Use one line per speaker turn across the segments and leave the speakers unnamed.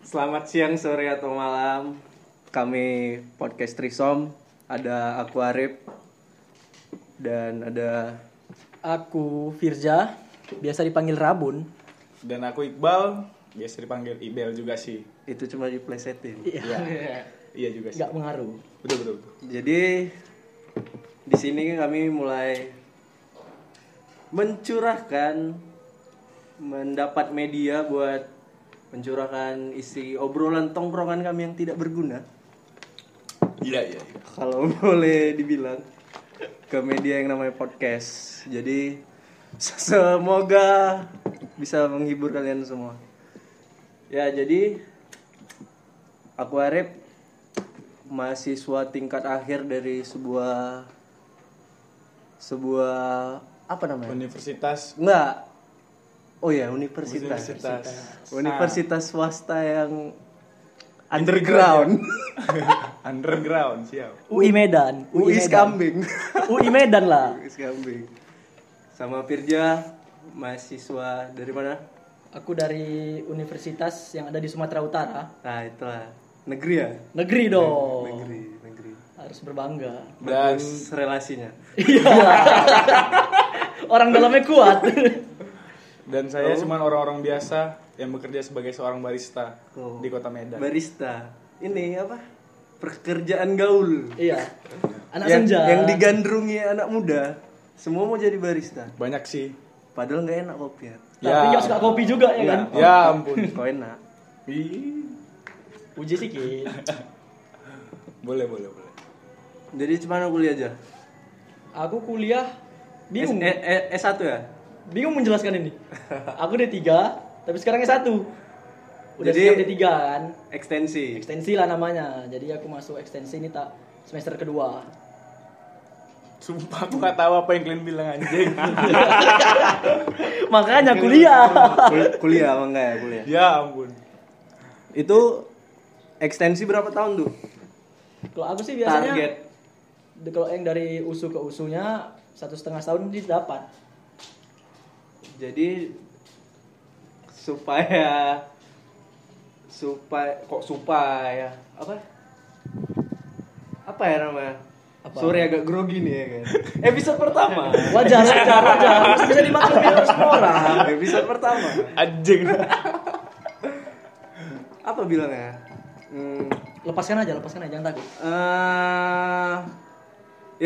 Selamat siang, sore, atau malam. Kami podcast Trisom. Ada aku Arif dan ada
Aku Firza, biasa dipanggil Rabun.
Dan aku Iqbal, biasa dipanggil Ibel juga sih.
itu cuma diplesetin.
Iya. iya juga sih.
Gak pengaruh.
Betul betul. betul.
Jadi di sini kami mulai mencurahkan mendapat media buat mencurahkan isi obrolan tongkrongan kami yang tidak berguna.
Iya iya. iya.
kalau boleh dibilang ke media yang namanya podcast. Jadi semoga bisa menghibur kalian semua. Ya, jadi aku Arif mahasiswa tingkat akhir dari sebuah sebuah apa namanya?
Universitas
Enggak. Oh ya, universitas.
Universitas.
Universitas swasta yang underground.
underground siap.
UI Medan.
UI
Medan.
kambing.
UI Medan lah.
Wis kambing. Sama Firja, mahasiswa dari mana?
Aku dari universitas yang ada di Sumatera Utara.
Nah, itulah. Negeri ya?
Negeri dong.
Negeri, negeri.
Harus berbangga.
Dan
Bagus relasinya.
Orang dalamnya kuat.
dan saya cuman orang-orang biasa yang bekerja sebagai seorang barista
Oh.
di Kota Medan.
Barista. Ini apa? Pekerjaan gaul.
iya. Anak
yang,
senja.
yang digandrungi anak muda. Semua mau jadi barista.
Banyak sih.
Padahal nggak enak kopi ya. Iya.
Tapi
Ya.
nggak suka kopi juga ya kan?
Ya ampun.
Kok enak?
Ih.
Puji sedikit.
Boleh boleh boleh.
Jadi cuma kuliah aja.
Aku kuliah bingung.
S, eh, eh, S1 ya?
Bingung menjelaskan ini. Aku D3, tapi sekarang S1. Udah
Jadi-
siap D3 kan?
Ekstensi.
ekstensi lah namanya jadi aku masuk ekstensi ini tak semester kedua
Sumpah aku nggak tahu apa yang kalian bilang anjing.
makanya kuliah
Kul- kuliah apa enggak ya kuliah?
ya ampun.
Itu ekstensi berapa tahun tuh?
kalau aku sih biasanya
Target.
de- kalau yang dari usu ke usunya satu setengah tahun didapat
jadi supaya supaya kok supaya apa apa ya namanya
Apa?
sore agak grogi nih ya kan episode pertama
wajar wajar wajar Masih bisa dimaklumi oleh semua orang
episode pertama
Anjing.
apa bilangnya hmm,
lepaskan aja lepaskan aja jangan takut
eh,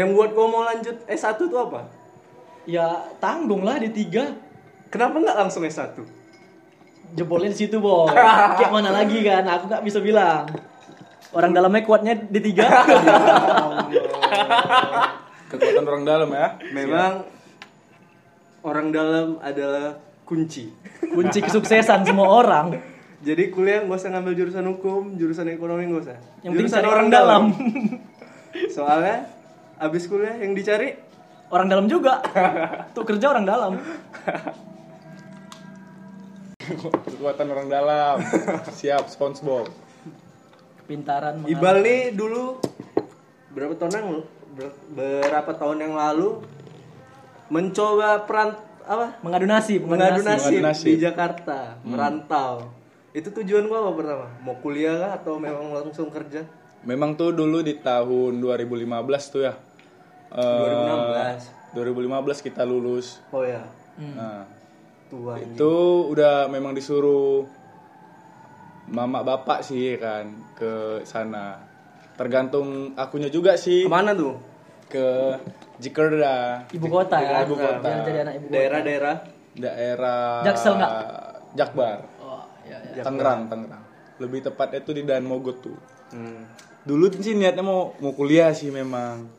yang buat gua mau lanjut S1 tuh apa
ya tanggung lah di tiga
kenapa nggak langsung S1
jebolnya di situ boy kayak mana lagi kan aku nggak bisa bilang orang dalamnya kuatnya di tiga Ya
Kekuatan orang dalam ya.
memang orang dalam adalah kunci
kunci kesuksesan semua orang
Jadi kuliah nggak usah ngambil jurusan hukum, jurusan ekonomi nggak usah.
yang penting
jurusan
cari orang dalam
Soalnya abis kuliah yang dicari
orang dalam juga tuh kerja orang dalam
Kekuatan orang dalam. Siap SpongeBob.
kepintaran mengalah.
Ibal nih dulu berapa tahun yang ber- berapa tahun yang lalu mencoba peran apa
mengadu nasib
mengadu nasib,
Mengadu nasib.
di Jakarta merantau. Itu tujuan gua apa pertama? Mau kuliah kah atau memang langsung kerja?
Memang tuh dulu di tahun 2015 tuh ya. Eh,
2016.
2015 kita lulus.
Oh ya
Hmm.
Nah,
tua.
Iya.
itu udah memang disuruh mama bapak sih ya kan ke sana. Tergantung akunya juga sih
Kemana tuh?
ke Jakarta,
ibu kota ya
Ibu kota.
biar jadi anak ibu kota
Daerah-daerah
daerah
Jaksel nggak?
Jakbar,
oh, iya, iya.
Tangerang, Tangerang. Lebih tepatnya tuh di Dan Mogot tuh.
Hmm.
Dulu sih niatnya mau mau kuliah sih memang.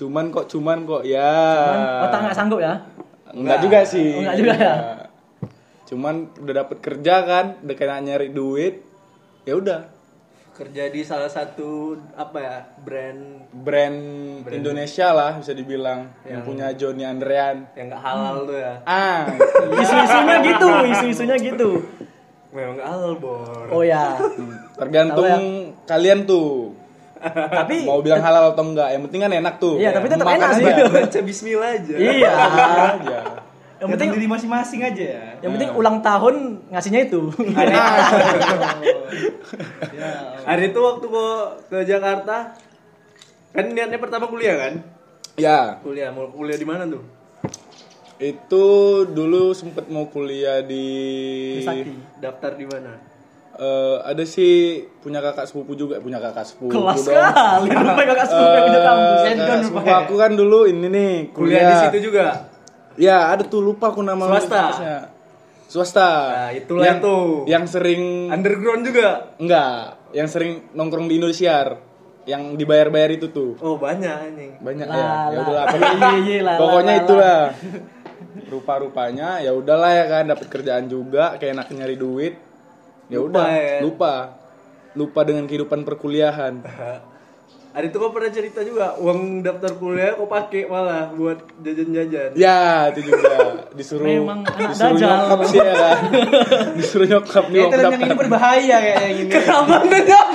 Cuman kok cuman kok ya.
Cuman otak nggak sanggup ya
Enggak juga sih. Iya.
Oh, enggak juga ya?
Cuman udah dapet kerja kan, udah kena nyari duit. Ya udah,
kerja di salah satu apa ya brand
brand, Indonesia lah bisa dibilang yang,
Hmm.
Yang-
punya Joni Andrean.
yang nggak halal tuh ya
Ah,
isu-isunya gitu isu-isunya gitu
memang nggak halal bor
oh ya
tergantung
Tahu ya?
kalian tuh
tapi
mau bilang halal atau enggak. Yang penting kan enak tuh.
Iya, tapi tetap
Makan
enak sih.
aja.
baca Bismillah aja
iya
Makan aja.
Yang penting
diri masing-masing aja ya.
yang penting ulang tahun ngasihnya itu.
ya.
Hari itu waktu gue ke Jakarta kan niatnya pertama kuliah kan?
Ya,
Kuliah mau kuliah di mana tuh?
itu dulu sempet mau kuliah di
Sakti.
Daftar di mana?
Eh, ada sih punya kakak sepupu juga, punya kakak sepupu.
Kelas
dong.
kali. Rupanya kakak
Eh,
sepupu yang punya kampus.
kakak
Handphone
sepupu
rupanya.
aku kan dulu ini nih
Kuliah
kuliah,
di situ juga.
Ya, ada tuh lupa aku nama
Swasta.
universitasnya. Swasta.
Nah, itulah
yang,
itu.
Yang sering
Underground juga.
enggak, yang sering nongkrong di Indosiar, yang dibayar-bayar itu tuh.
Oh banyak anjing.
Banyak
Lah,
ya. Ya
lah.
udahlah,
Iya, iya, lah, lah,
Pokoknya
lah,
itulah. Rupa-rupanya ya udahlah ya kan dapat kerjaan juga, kayak enak nyari duit. Ya
Lupa
udah,
ya.
lupa. Lupa dengan kehidupan perkuliahan.
Hari itu kau pernah cerita juga uang daftar kuliah kau pakai malah buat jajan-jajan.
Ya, itu juga disuruh
Memang anak
disuruh
dajal.
nyokap sih ya kan. disuruh nyokap
Iya,
nih
Kayaknya
waktu
talent yang ini
daftar.
berbahaya kayaknya yang ini.
Abang dendam.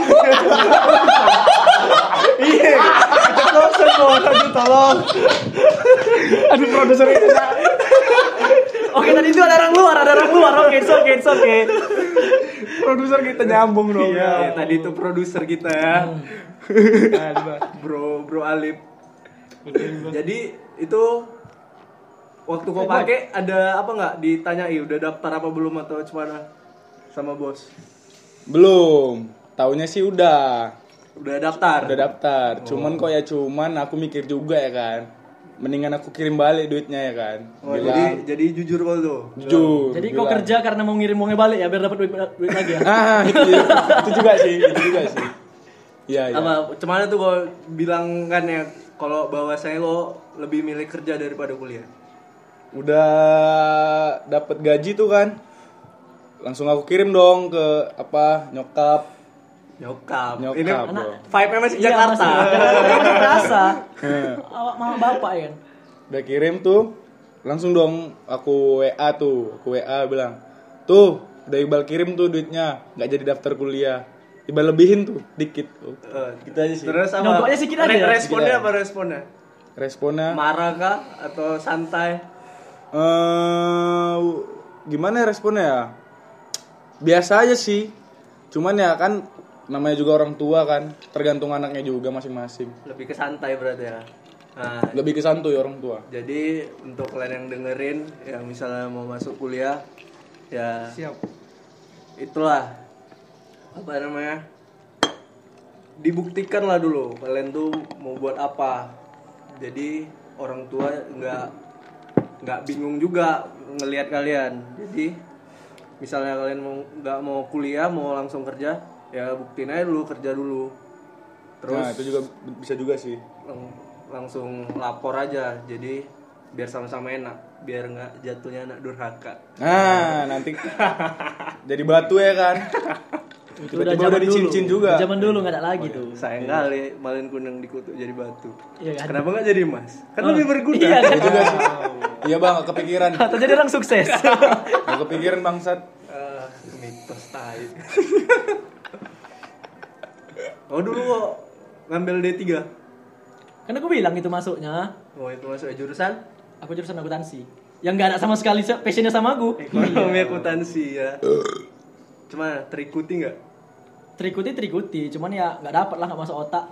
Iya,
Dosen dong, aduh tolong.
Aduh produser itu. Kak. Oke tadi itu ada orang luar, ada orang luar. Oke, it's okay, it's okay.
Produser kita nyambung dong.
Ya, tadi itu produser kita ya.
Hmm.
Bro, Bro Alip. Jadi itu waktu
Eh,
kau pakai ada apa nggak ditanyai udah daftar apa belum atau cuma sama bos
Belum. Taunya sih udah.
udah daftar
Udah daftar. Cuman kok ya cuman aku mikir juga ya kan. Mendingan aku kirim balik duitnya ya kan.
Oh,
Bilang,
jadi jadi jujur kau tuh
jujur.
Jadi kau
bilang.
kerja karena mau ngirim uangnya balik ya biar dapat duit, duit lagi ya.
Ah, itu, itu juga sih, itu juga sih. Iya, iya.
apa cuman tuh kau bilang kan ya kalau bahwasanya lo lebih milih kerja daripada kuliah
Udah dapat gaji tuh kan. Langsung aku kirim dong ke apa nyokap
nyokap,
Nyokap,
ini
bro.
vibe nya masih
Iya,
Jakarta
masih- Karena terasa. Awak mama bapak ya kan.
udah kirim tuh langsung dong aku WA tuh aku WA bilang tuh udah Iqbal kirim tuh duitnya nggak jadi daftar kuliah Iqbal lebihin tuh dikit tuh.
Eh,
gitu aja sih
terus apa
Nyokapnya sedikit aja ya?
responnya
Sedikit
apa responnya
responnya
marah kah atau santai
eh gimana ya responnya ya biasa aja sih cuman ya kan namanya juga orang tua kan tergantung anaknya juga masing-masing
lebih ke santai berarti ya nah
lebih ke santuy orang tua
jadi untuk kalian yang dengerin yang misalnya mau masuk kuliah ya
Siap.
itulah apa namanya dibuktikanlah dulu kalian tuh mau buat apa jadi orang tua nggak nggak bingung juga ngelihat kalian jadi misalnya kalian mau nggak mau kuliah mau langsung kerja ya buktiin aja dulu kerja dulu terus
nah itu juga bisa juga sih
lang- langsung lapor aja jadi biar sama-sama enak biar nggak jatuhnya anak durhaka
Nah, nanti jadi batu ya kan.
Itu Oh,
Tiba-tiba udah dicincin juga.
Zaman dulu nggak ada lagi tuh.
sayang kali malin kuning dikutuk jadi batu
Iya kan?
kenapa nggak jadi emas kan lebih berguna
Iya kan?
Juga sih. Iya bang, nggak kepikiran.
Atau jadi orang sukses.
Nggak kepikiran bangsat.
Eh, mitos tai oh dulu kok ngambil D3
Karena aku bilang itu masuknya.
oh itu masuk jurusan
Aku jurusan akuntansi. Yang nggak ada sama sekali se- passionnya sama aku.
Eh, ekonomi akuntansi ya cuma terikuti nggak
Terikuti terikuti, cuman ya nggak dapat lah nggak masuk otak.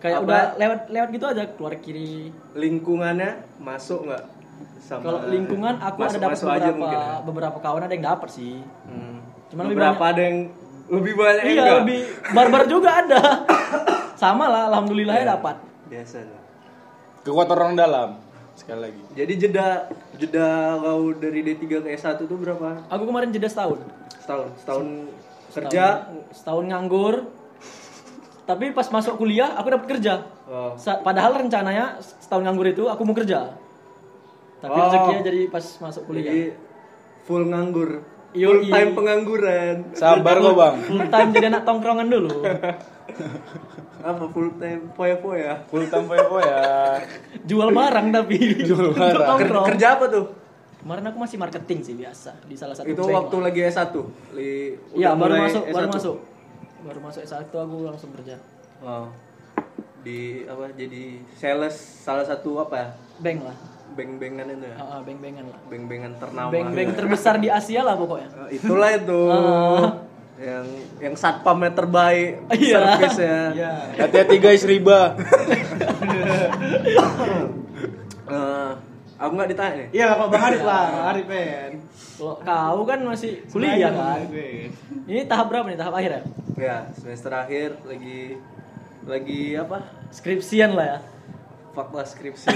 Kayak
Apa?
udah lewat lewat gitu aja keluar kiri.
lingkungannya masuk nggak sama
Kalau lingkungan aku ada dapat
Masuk-masuk
beberapa
aja mungkin ya.
beberapa kawan ada yang dapat sih.
Hmm.
Cuman lebih
beberapa ada yang lebih banyak yang
Iya
enggak.
lebih barbar juga ada. Sama lah, alhamdulillah
Iya.
ya dapat.
biasa lah.
Kekuatan orang dalam. Sekali lagi.
Jadi jeda jeda kau dari D3 ke S1 tuh berapa?
Aku kemarin jeda setahun.
Setahun, setahun kerja.
Setahun nganggur. Tapi pas masuk kuliah aku dapat kerja.
Oh,
Sa- Padahal rencananya setahun nganggur itu aku mau kerja. Tapi
Oh.
rezekinya jadi pas masuk kuliah.
jadi full nganggur.
Yoi.
Full time pengangguran.
Sabar kok bang.
Full time jadi anak tongkrongan dulu.
Apa full time foya-foya?
Full time FO ya.
Jual barang tapi.
Jual barang.
Untuk
Ker-
tongkrong.
kerja apa tuh?
Kemarin aku masih marketing sih biasa di salah satu
Itu
bank
waktu
lah.
lagi S1. Li,
Iya,
udah
baru
mulai
masuk, baru
S1.
masuk. Baru masuk S1 aku langsung kerja.
Oh. Wow. Di apa jadi sales salah satu apa ya?
Bank lah.
beng-bengan itu ya.
Ah, ah, beng-bengan lah.
Beng-bengan ternama.
Beng-beng terbesar di Asia lah pokoknya.
Eh, itulah itu. yang yang satpamnya terbaik
Ah. Iya.
service-nya.
Iya.
Hati-hati guys riba.
Eh, aku nggak ditanya nih.
Iya, Bapak Bang Arif lah, Bang Arif men.
Kalau kau kan masih kuliah kan.
Men.
Ini tahap berapa nih? Tahap akhir ya?
Ya, semester akhir lagi lagi apa?
Skripsian lah ya.
Fakta skripsi.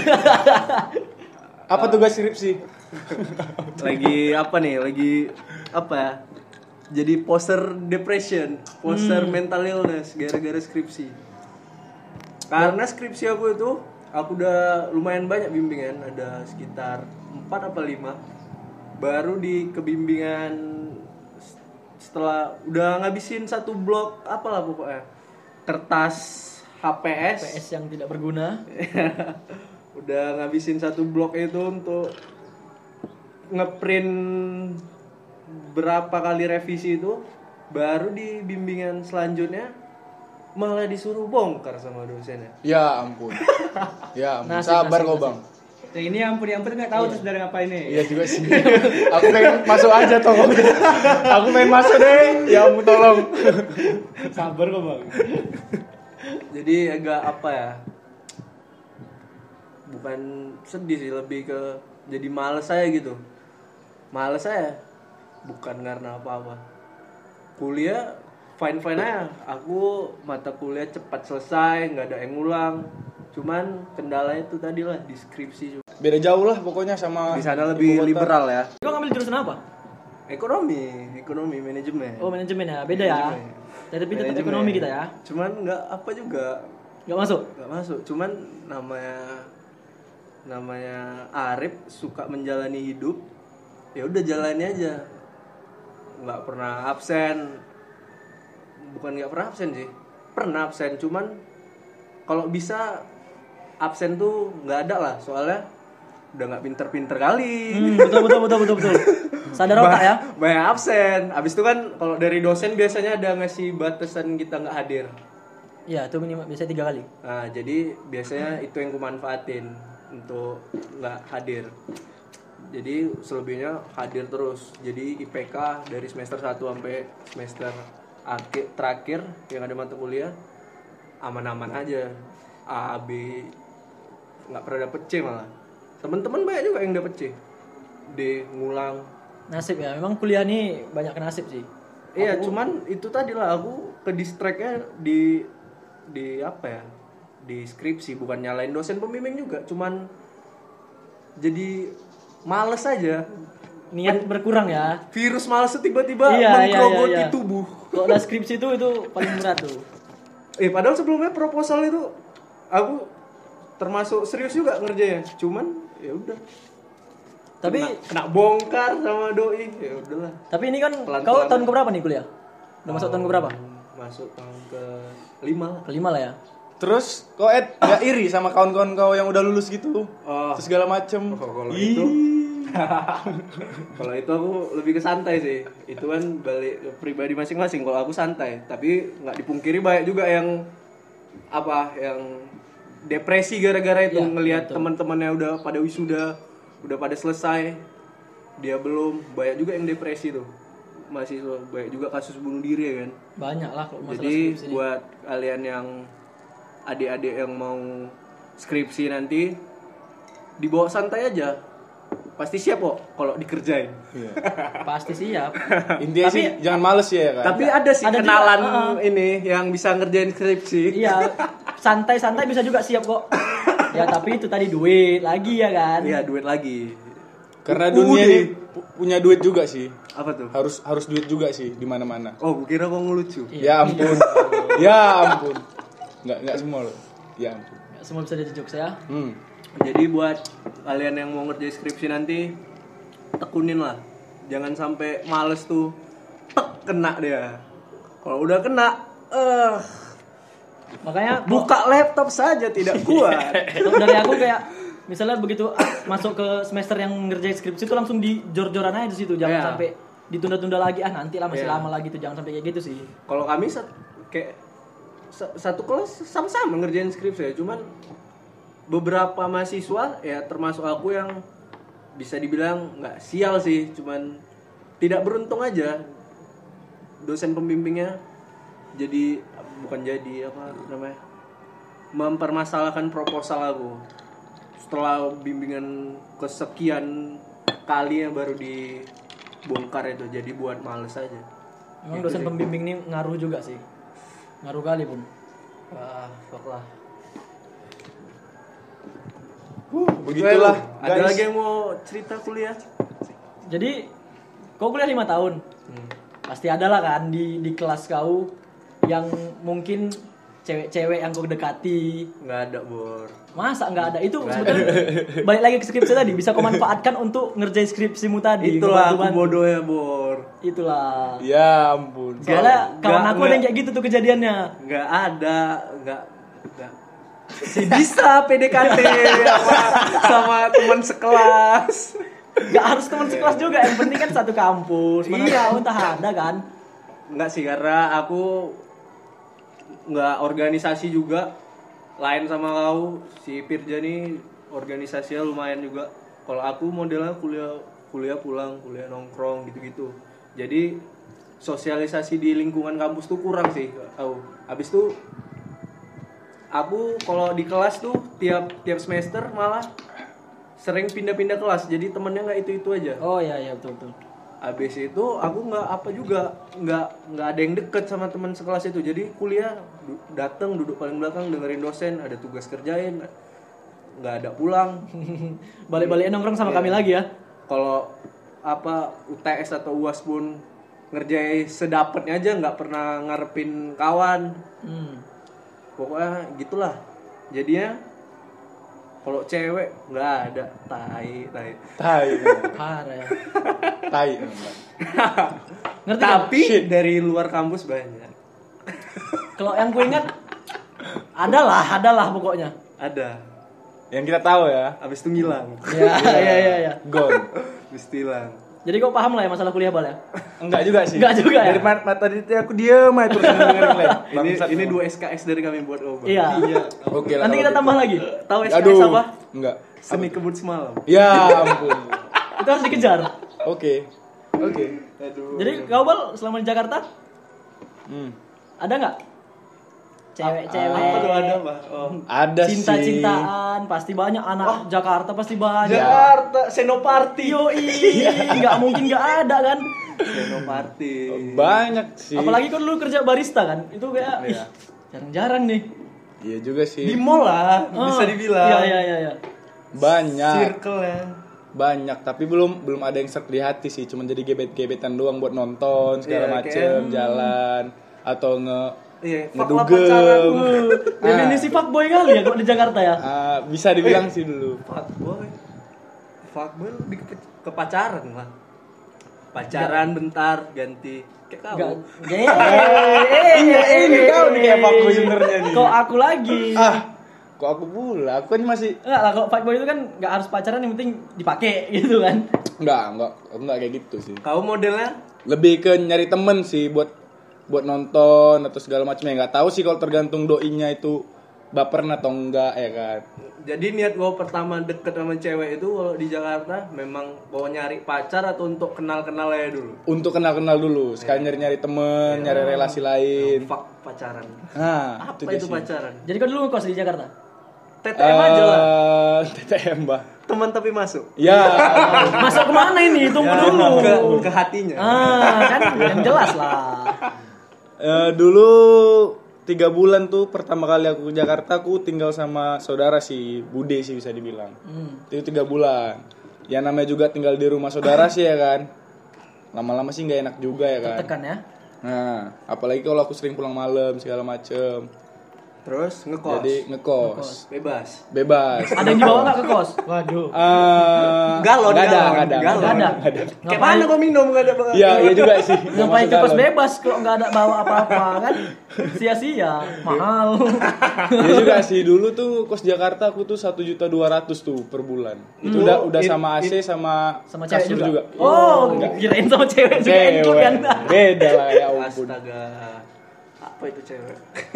Apa tugas skripsi?
lagi apa nih? Lagi apa ya? Jadi poster depression, poster mental illness gara-gara skripsi. Karena skripsi aku itu aku udah lumayan banyak bimbingan, ada sekitar 4 apa 5. Baru di kebimbingan s- setelah udah ngabisin satu blok apalah pokoknya. Kertas HPS
PS yang tidak berguna.
udah ngabisin satu blok itu untuk ngeprint berapa kali revisi itu baru di bimbingan selanjutnya malah disuruh bongkar sama dosennya
Ya ampun. Ya ampun.
Nasib,
Sabar
nasib,
kok bang.
Ya, ini ampun ampun nggak tahu terus dari ngapain nih.
Iya juga sih. Aku pengen masuk aja tolong. Aku pengen masuk deh. Ya ampun tolong.
Sabar kok bang.
jadi agak apa ya bukan sedih sih lebih ke jadi males saya gitu males saya bukan karena apa-apa kuliah fine fine aja aku mata kuliah cepat selesai nggak ada yang ngulang cuman kendalanya itu tadi lah deskripsi
Beda jauh lah pokoknya sama.
di sana lebih
ibu kota.
liberal ya
Kau ngambil jurusan apa?
ekonomi ekonomi manajemen
Oh manajemen ya, beda ya. Tapi tetap
Eh. Manajemen.
ekonomi kita ya.
cuman nggak apa juga
Gak masuk.
nggak masuk cuman namanya namanya Arif suka menjalani hidup ya udah jalani aja nggak pernah absen bukan nggak pernah absen sih pernah absen cuman kalau bisa absen tuh nggak ada lah soalnya udah nggak pinter-pinter kali
Hmm, betul betul betul betul betul. Sadar otak ya.
Ba- banyak absen abis itu kan kalau dari dosen biasanya ada ngasih batasan kita nggak hadir
Iya, itu minimal biasanya tiga kali.
Nah, jadi biasanya itu yang kumanfaatin untuk nggak hadir. Jadi selebihnya hadir terus. Jadi IPK dari semester 1 sampai semester akhir terakhir yang ada mata kuliah aman-aman aja. A, B nggak pernah dapet C malah. Temen-temen banyak juga yang dapet C. D ngulang.
Nasib ya. Memang kuliah nih banyak nasib sih.
Iya, cuman itu tadi lah aku ke distractnya di di apa ya? Di skripsi bukan nyalain dosen pembimbing juga, cuman jadi males aja.
Niat berkurang ya.
Virus males tuh tiba-tiba
Iya, iya,
menggerogoti
iya, iya.
tubuh.
Kalau udah skripsi itu itu paling berat tuh.
Eh, padahal sebelumnya proposal itu aku termasuk serius juga ngerjainnya. Cuman ya udah
Tapi
kena bongkar sama doi. Ya udahlah.
tapi ini kan
Pelan-pelan. Oh.
kau tahun keberapa nih kuliah? Udah masuk tahun keberapa?
Masuk tahun ke lima lah.
Kelima lah ya.
Terus kok Ed nggak iri sama kawan-kawan kau yang udah lulus gitu?
Oh.
Terus segala macem.
Oh, kalau itu kalau itu aku lebih ke santai sih itu kan balik ke pribadi masing-masing kalau aku santai tapi nggak dipungkiri banyak juga yang apa yang depresi gara-gara itu
Iya,
ngelihat teman-temannya udah pada wisuda udah pada selesai dia belum banyak juga yang depresi tuh masih banyak juga kasus bunuh diri ya kan
Banyak lah kalau masalah
jadi
skripsi. ini.
buat kalian yang adik-adik yang mau skripsi nanti dibawa santai aja. Pasti siap kok kalau dikerjain.
Pasti siap.
Iya. Intinya sih jangan males ya kan.
Tapi ada sih
Ada juga,
kenalan
uh-uh.
ini yang bisa ngerjain skripsi.
iya, santai-santai bisa juga siap kok. Ya tapi itu tadi duit lagi ya kan.
Iya, duit lagi.
Karena
Udah.
dunia ini pu- punya duit juga sih.
apa tuh?
Harus harus duit juga sih di mana-mana.
Oh, gue kira kok ngelucu.
Ya ampun. ya ampun. Nggak nggak semua loh. Ya ampun.
Semua bisa ya. dijejok saya.
Hmm.
Jadi buat kalian yang mau ngerjain skripsi nanti tekunin lah. Jangan sampai males tuh tek kena dia. Kalau udah kena, eh
Makanya
buka laptop saja tidak kuat.
Kalau dari aku kayak misalnya begitu ah, masuk ke semester yang ngerjain skripsi itu langsung di jor-joran aja di situ jangan
Iya.
sampai ditunda-tunda lagi ah nanti lah masih
Iya.
lama lagi tuh jangan sampai kayak gitu sih
Kalau kami sat- kayak sa- satu kelas sama-sama ngerjain skripsi ya, cuman beberapa mahasiswa ya termasuk aku yang bisa dibilang nggak sial sih cuman tidak beruntung aja dosen pembimbingnya jadi bukan jadi apa namanya mempermasalahkan proposal aku setelah bimbingan kesekian kali yang baru dibongkar itu jadi buat males aja
Emang
Gitu
dosen pembimbing ini ngaruh juga sih. Ngaruh kali, Bung.
ah fuck lah
Uh, Begitulah.
ada lagi yang mau cerita kuliah
Jadi kau kuliah lima tahun.
Hmm.
Pasti ada lah kan di di kelas kau yang mungkin cewek-cewek yang kau dekati.
nggak ada bor
Masa nggak ada? Itu sebetulnya balik lagi ke skripsi tadi bisa kau manfaatkan untuk ngerjain skripsimu tadi.
itulah aku
ngebantu-bantu.
bodoh ya bor
Itulah.
Ya ampun.
Nggak-
Soalnya kawan aku ada yang
nggak-
kayak gitu tuh kejadiannya.
nggak ada nggak nggak si bisa PDKT sama, sama teman sekelas
Gak harus teman sekelas juga, yang penting kan satu kampus. Mana tahu entah ada kan.
nggak sih karena aku nggak organisasi juga lain sama kau si Pirja nih organisasinya lumayan juga kalau aku modelnya kuliah kuliah pulang kuliah nongkrong gitu-gitu jadi sosialisasi di lingkungan kampus tuh kurang sih aku habis tuh aku kalau di kelas tuh tiap tiap semester malah sering pindah-pindah kelas jadi temennya nggak itu itu aja
Oh iya iya betul betul.
Abis itu aku nggak apa juga nggak nggak ada yang deket sama teman sekelas itu jadi kuliah du- datang duduk paling belakang dengerin dosen ada tugas kerjain nggak ada pulang
Balik-balik nongkrong sama kami lagi ya.
kalau apa UTS atau uas pun ngerjain sedapatnya aja nggak pernah ngarepin kawan
Hmm.
pokoknya gitulah jadinya kalau cewek nggak ada tai tai
Tai.
Parah. ya.
Tai.
Ngerti kan?
tapi dari luar kampus banyak
Kalau yang gue ingat adalah adalah pokoknya.
ada
Yang kita tahu ya.
abis itu ngilang
Iya iya iya iya.
Gon.
abis itu hilang
Jadi kau paham lah ya masalah kuliah bal ya?
Enggak juga sih.
Enggak juga ya?
Dari mat- mata tadi tuh aku diem aja terus dengerin Len.
ini
Bangsat
ini
emang.
dua SKS dari kami buat obat.
Iya.
Oke
Nanti
lah. kalau
kita
gitu.
tambah lagi.
Tahu SKS
Aduh.
apa?
Enggak.
Semi kebut semalam.
Ya ampun.
Itu harus dikejar.
Oke. Oke.
Aduh.
Jadi kau bal selama di Jakarta
Hmm.
ada nggak? Cewek-cewek.
Apa tuh ada apa? Oh.
Ada sih.
Cinta-cintaan pasti banyak anak Jakarta pasti banyak.
Jakarta Senoparty.
Iya. Yoi, nggak mungkin nggak ada kan?
Senoparty.
Banyak sih.
Apalagi kan dulu kerja barista kan, itu kayak ih,
Iya.
jarang-jarang nih.
Iya juga
Di
sih.
mall lah bisa
Ah,
dibilang.
Iya iya iya. iya.
Banyak.
Circle ya.
Banyak, tapi belum belum ada yang serak di hati sih, cuman jadi gebet-gebetan doang buat nonton segala
Iya,
macem, jalan atau nge
Iya, fuck lah pacaran.
ngedugem.
Uh, definisi fuckboy kali ya kalau di Jakarta ya.
Ah, bisa dibilang sih dulu.
Fuck boy. Fuck boy lebih ke, ke pacaran lah. Pacaran bentar ganti kayak
Enggak.
kau.
Iya,
ini kau nih kayak fuckboy sebenarnya nih.
Kok aku lagi?
Ah, kok aku pula? Aku kan masih
Enggak lah, kalau fuckboy itu kan enggak harus pacaran yang penting dipakai gitu kan.
enggak, enggak, aku enggak kayak gitu sih.
Kau modelnya
Lebih ke nyari temen sih buat buat nonton atau segala macam ya nggak tahu sih kalau tergantung doinya itu baperan atau enggak ya kan
jadi niat gue pertama deket sama cewek itu kalau di Jakarta memang mau nyari pacar atau untuk kenal-kenal aja dulu.
untuk kenal-kenal dulu
Iya.
sekali nyari-nyari temen nyari relasi lain
Fuck pacaran.
nah
Apa itu pacaran?
Jadi kau dulu ngekos di Jakarta.
TTM aja lah.
Eh, TTM bah
Teman tapi masuk.
ya
Masuk kemana ini? Tunggu dulu.
Ke, ke hatinya.
Ah, kan yang jelas lah.
eh, dulu tiga bulan tuh pertama kali aku ke Jakarta aku tinggal sama saudara sih Bude sih bisa dibilang
Hmm.
itu tiga bulan ya namanya juga tinggal di rumah saudara sih ya kan lama-lama sih nggak enak juga ya kan
Tekan ya.
nah apalagi kalau aku sering pulang malam segala macem
Terus ngekos.
jadi ngekos
bebas.
bebas
Ada yang dibawa nggak ke kos?
Waduh.
Eh,
Galon,
nggak ada,
galon,
nggak ada,
galon.
nggak ada.
Nggak ada.
Kayak mana kau minum gak ada bang?
Iya, iya juga sih.
Ngapain
Masuk
ke kos
galon.
bebas kalau nggak ada bawa apa-apa kan? Sia-sia, mahal.
Iya juga sih. Dulu tuh kos Jakarta aku tuh satu juta dua ratus tuh per bulan. Itu
Hmm.
udah udah
It-
sama
it-
AC sama
Sama cewek
kasur Iya.
juga. Oh, kirain sama cewek juga include
Cewek.
kan?
Beda lah ya ampun.
Astaga. Apa itu cewek?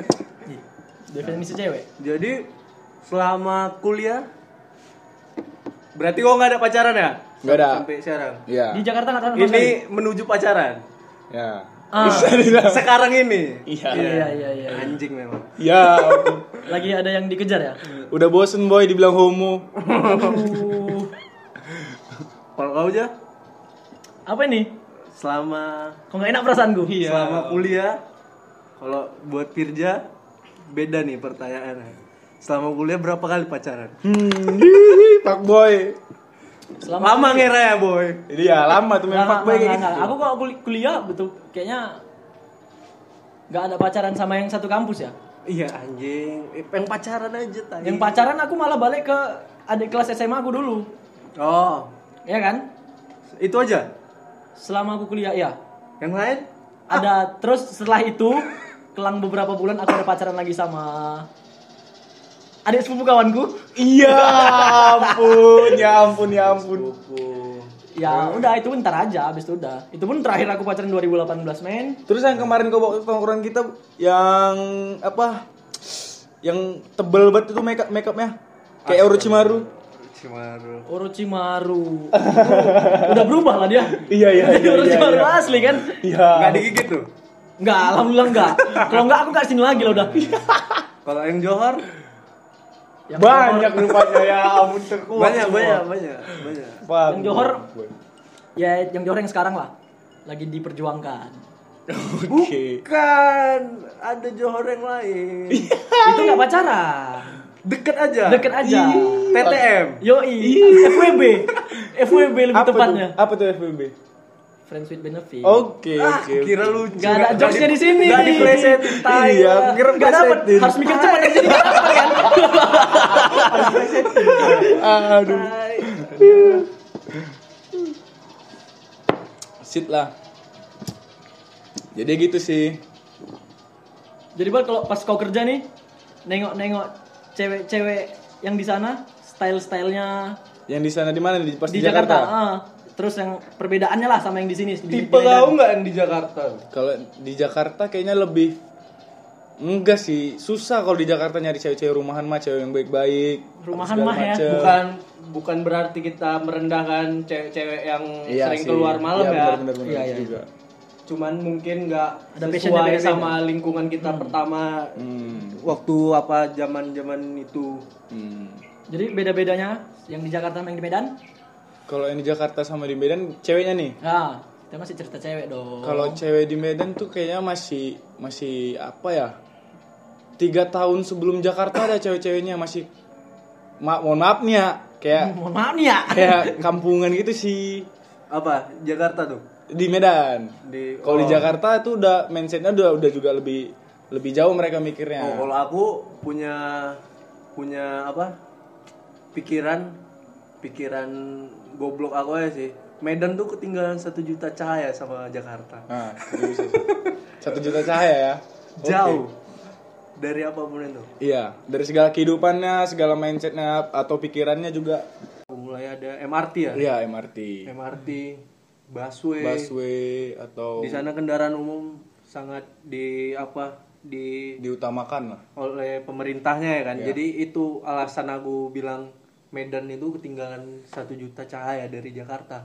Definisi cewek.
jadi selama kuliah berarti kok nggak ada pacaran ya
Nggak ada.
sampai sekarang
Iya.
Di Jakarta nggak tahu sama sekali.
ini menuju pacaran
Ya.
Ah,
sekarang ini
Iya.
iya iya iya.
anjing memang
Ya.
Lagi ada yang dikejar ya?
Udah bosen boy dibilang homo.
Aduh.
kalau kau aja
Apa ini?
selama
Kok nggak enak perasaanku?
Iya.
selama kuliah kalau buat Firja beda nih pertanyaannya selama kuliah berapa kali pacaran
Hmm, pak boy.
Selama
lama ngera ya boy
Iya, lama tuh main
Nggak,
pak
nggak,
boy
nggak,
kayak
nggak.
gitu.
nah, Aku kok kul- kuliah betul kayaknya nggak ada pacaran sama yang satu kampus ya.
iya anjing Eh, pengen pacaran aja tadi
Yang pacaran aku malah balik ke adik kelas SMA aku dulu.
oh
Ya kan?
itu aja
Selama aku kuliah ya.
yang lain
Ah.
Ada terus setelah itu kelang beberapa bulan aku ada pacaran lagi sama adik sepupu kawanku.
Iya, ampun, ya ampun, ya ampun.
Ya
Oh.
udah itu ntar aja abis itu udah. Itu pun terakhir aku pacaran 2018 men.
Terus yang kemarin kau bawa ke tongkrongan kita yang apa? Yang tebel banget itu makeup makeupnya. Kayak Orochimaru.
Cimaru
Orochimaru. udah berubah lah dia.
Iya, iya, iya,
Orochimaru asli kan?
nggak
Iya.
digigit tuh
Enggak, alhamdulillah enggak. Kalau enggak aku kasih lagi loh udah.
kalau yang Johor
Yang
Banyak rupanya ya ampun terkuat.
banyak
semua.
banyak banyak banyak
Pak
Yang Johor.
boy.
Ya yang joreng sekarang lah. Lagi diperjuangkan.
Oke.
bukan ada Johor yang lain
Itu enggak pacaran.
deket aja
Iya. Deket aja. Iya,
TTM
Yoi, FWB. FWB lebih
Apa
tepatnya.
tuh? Oh, Apa tuh FBB?
Iya.
Friends with benefit.
Oke,
Ah,
oke. oke.
kira lu
Gak ada jokesnya di sini.
Gak diplesetin tai.
Iya, kira
Gak dapet,
plesetin.
harus mikir cepat jadi nggak dapet kan.
Aduh.
Tai.
Sit lah. Jadi gitu sih.
Jadi buat kalau pas kau kerja nih, nengok-nengok cewek-cewek yang di sana, style-stylenya
Yang di sana di mana? Di pas
di Jakarta. ah. terus yang perbedaannya lah sama yang di sini. di-
tipe
di
kau
Medan.
nggak di Jakarta
Kalau di Jakarta kayaknya lebih enggak sih, susah kalau di Jakarta nyari cewek-cewek rumahan mah, cewek yang baik-baik.
Rumahan
segala
mah ya.
macem.
bukan bukan berarti kita merendahkan cewek-cewek yang
Iya
sering
sih.
keluar malam
Iya,
ya
benar-benar benar
Iya, iya.
juga.
cuman mungkin nggak
Ada passionnya
sesuai
beda-beda.
sama lingkungan kita pertama
Hmm.
waktu apa zaman-zaman itu
hmm.
Jadi beda-bedanya yang di Jakarta sama yang di Medan.
Kalau yang di Jakarta sama di Medan ceweknya nih.
Nah, kita masih cerita cewek dong.
Kalau cewek di Medan tuh kayaknya masih masih apa ya? Tiga tahun sebelum Jakarta ada cewek-ceweknya masih ma mohon maaf nih ya kayak
mohon maaf nih ya.
kayak kampungan gitu sih
apa Jakarta tuh
di Medan.
di
Kalau di
oh.
Jakarta tuh udah mindsetnya udah udah juga lebih lebih jauh mereka mikirnya.
Oh, kalau aku punya punya apa? Pikiran pikiran goblok aku aja sih. Medan tuh ketinggalan satu juta cahaya sama Jakarta.
Nah, itu bisa sih. satu juta cahaya ya. Oke.
Jauh dari apapun itu.
Iya, dari segala kehidupannya, segala mindsetnya atau pikirannya juga.
Mulai ada MRT ya.
Iya, MRT,
MRT, busway.
busway atau
Di sana kendaraan umum sangat di apa? di
diutamakan lah.
oleh pemerintahnya ya kan. Jadi itu alasan aku bilang Medan itu ketinggalan satu juta cahaya dari Jakarta.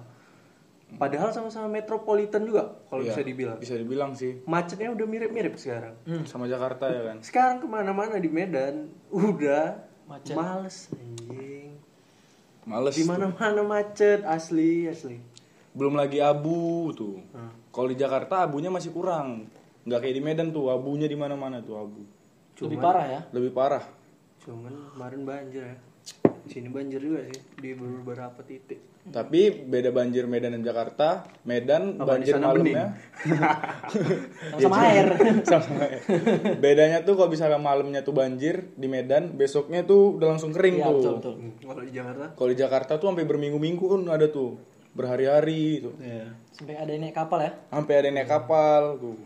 Padahal sama-sama metropolitan juga kalau bisa dibilang.
Bisa dibilang sih
Macetnya udah mirip-mirip sekarang.
sama Jakarta ya kan.
Sekarang kemana-mana di Medan udah
Macet.
males anjing.
Males.
Di mana-mana macet asli asli.
Belum lagi abu tuh.
Hmm.
Kalau di Jakarta abunya masih kurang. Nggak kayak di Medan tuh, abunya di mana-mana tuh abu.
Lebih parah ya.
Lebih parah.
Cuman kemarin banjir ya. Di Sini banjir juga sih di beberapa titik.
Tapi beda banjir Medan dan Jakarta.
Apa,
Medan
di
banjir
sana
malamnya.
Sama air.
sama ya. Bedanya tuh kalau misalnya malamnya tuh banjir di Medan, besoknya tuh udah langsung kering
Iya,
tuh.
betul betul.
Hmm, Kalau di Jakarta
Kalau di Jakarta tuh sampai berminggu-minggu pun ada tuh, berhari-hari tuh.
Sampai ada yang naik kapal ya.
Sampai ada yang naik kapal tuh.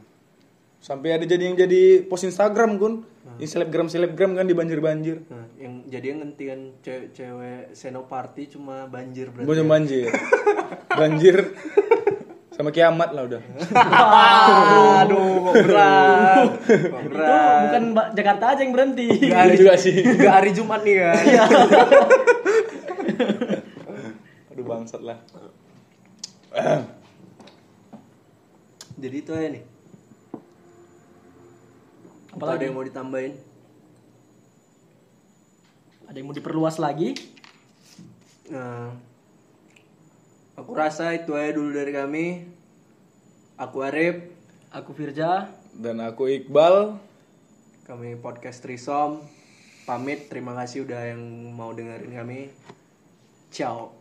Sampai ada jadi yang jadi post Instagram kun, yang selebgram selebgram kan di banjir-banjir.
Nah, yang kan jadi ngentian
ya.
cewek-cewek senoparty cuma banjir berarti.
Banjir banjir. banjir sama kiamat lah udah
Aduh, kok berat. Kok
Itu
berat.
bukan Ba- Jakarta aja yang berhenti.
Nggak hari
juga sih.
nggak hari Jumat nih kan.
aduh bangsat lah
Jadi itu aja nih. Apa
Apalagi?
ada yang mau ditambahin?
Ada yang mau diperluas lagi?
Nah, aku rasa itu aja dulu dari kami. Aku Arif,
Aku Firja.
dan aku Iqbal
kami podcast Trisom. Pamit, terima kasih udah yang mau dengerin kami. Ciao.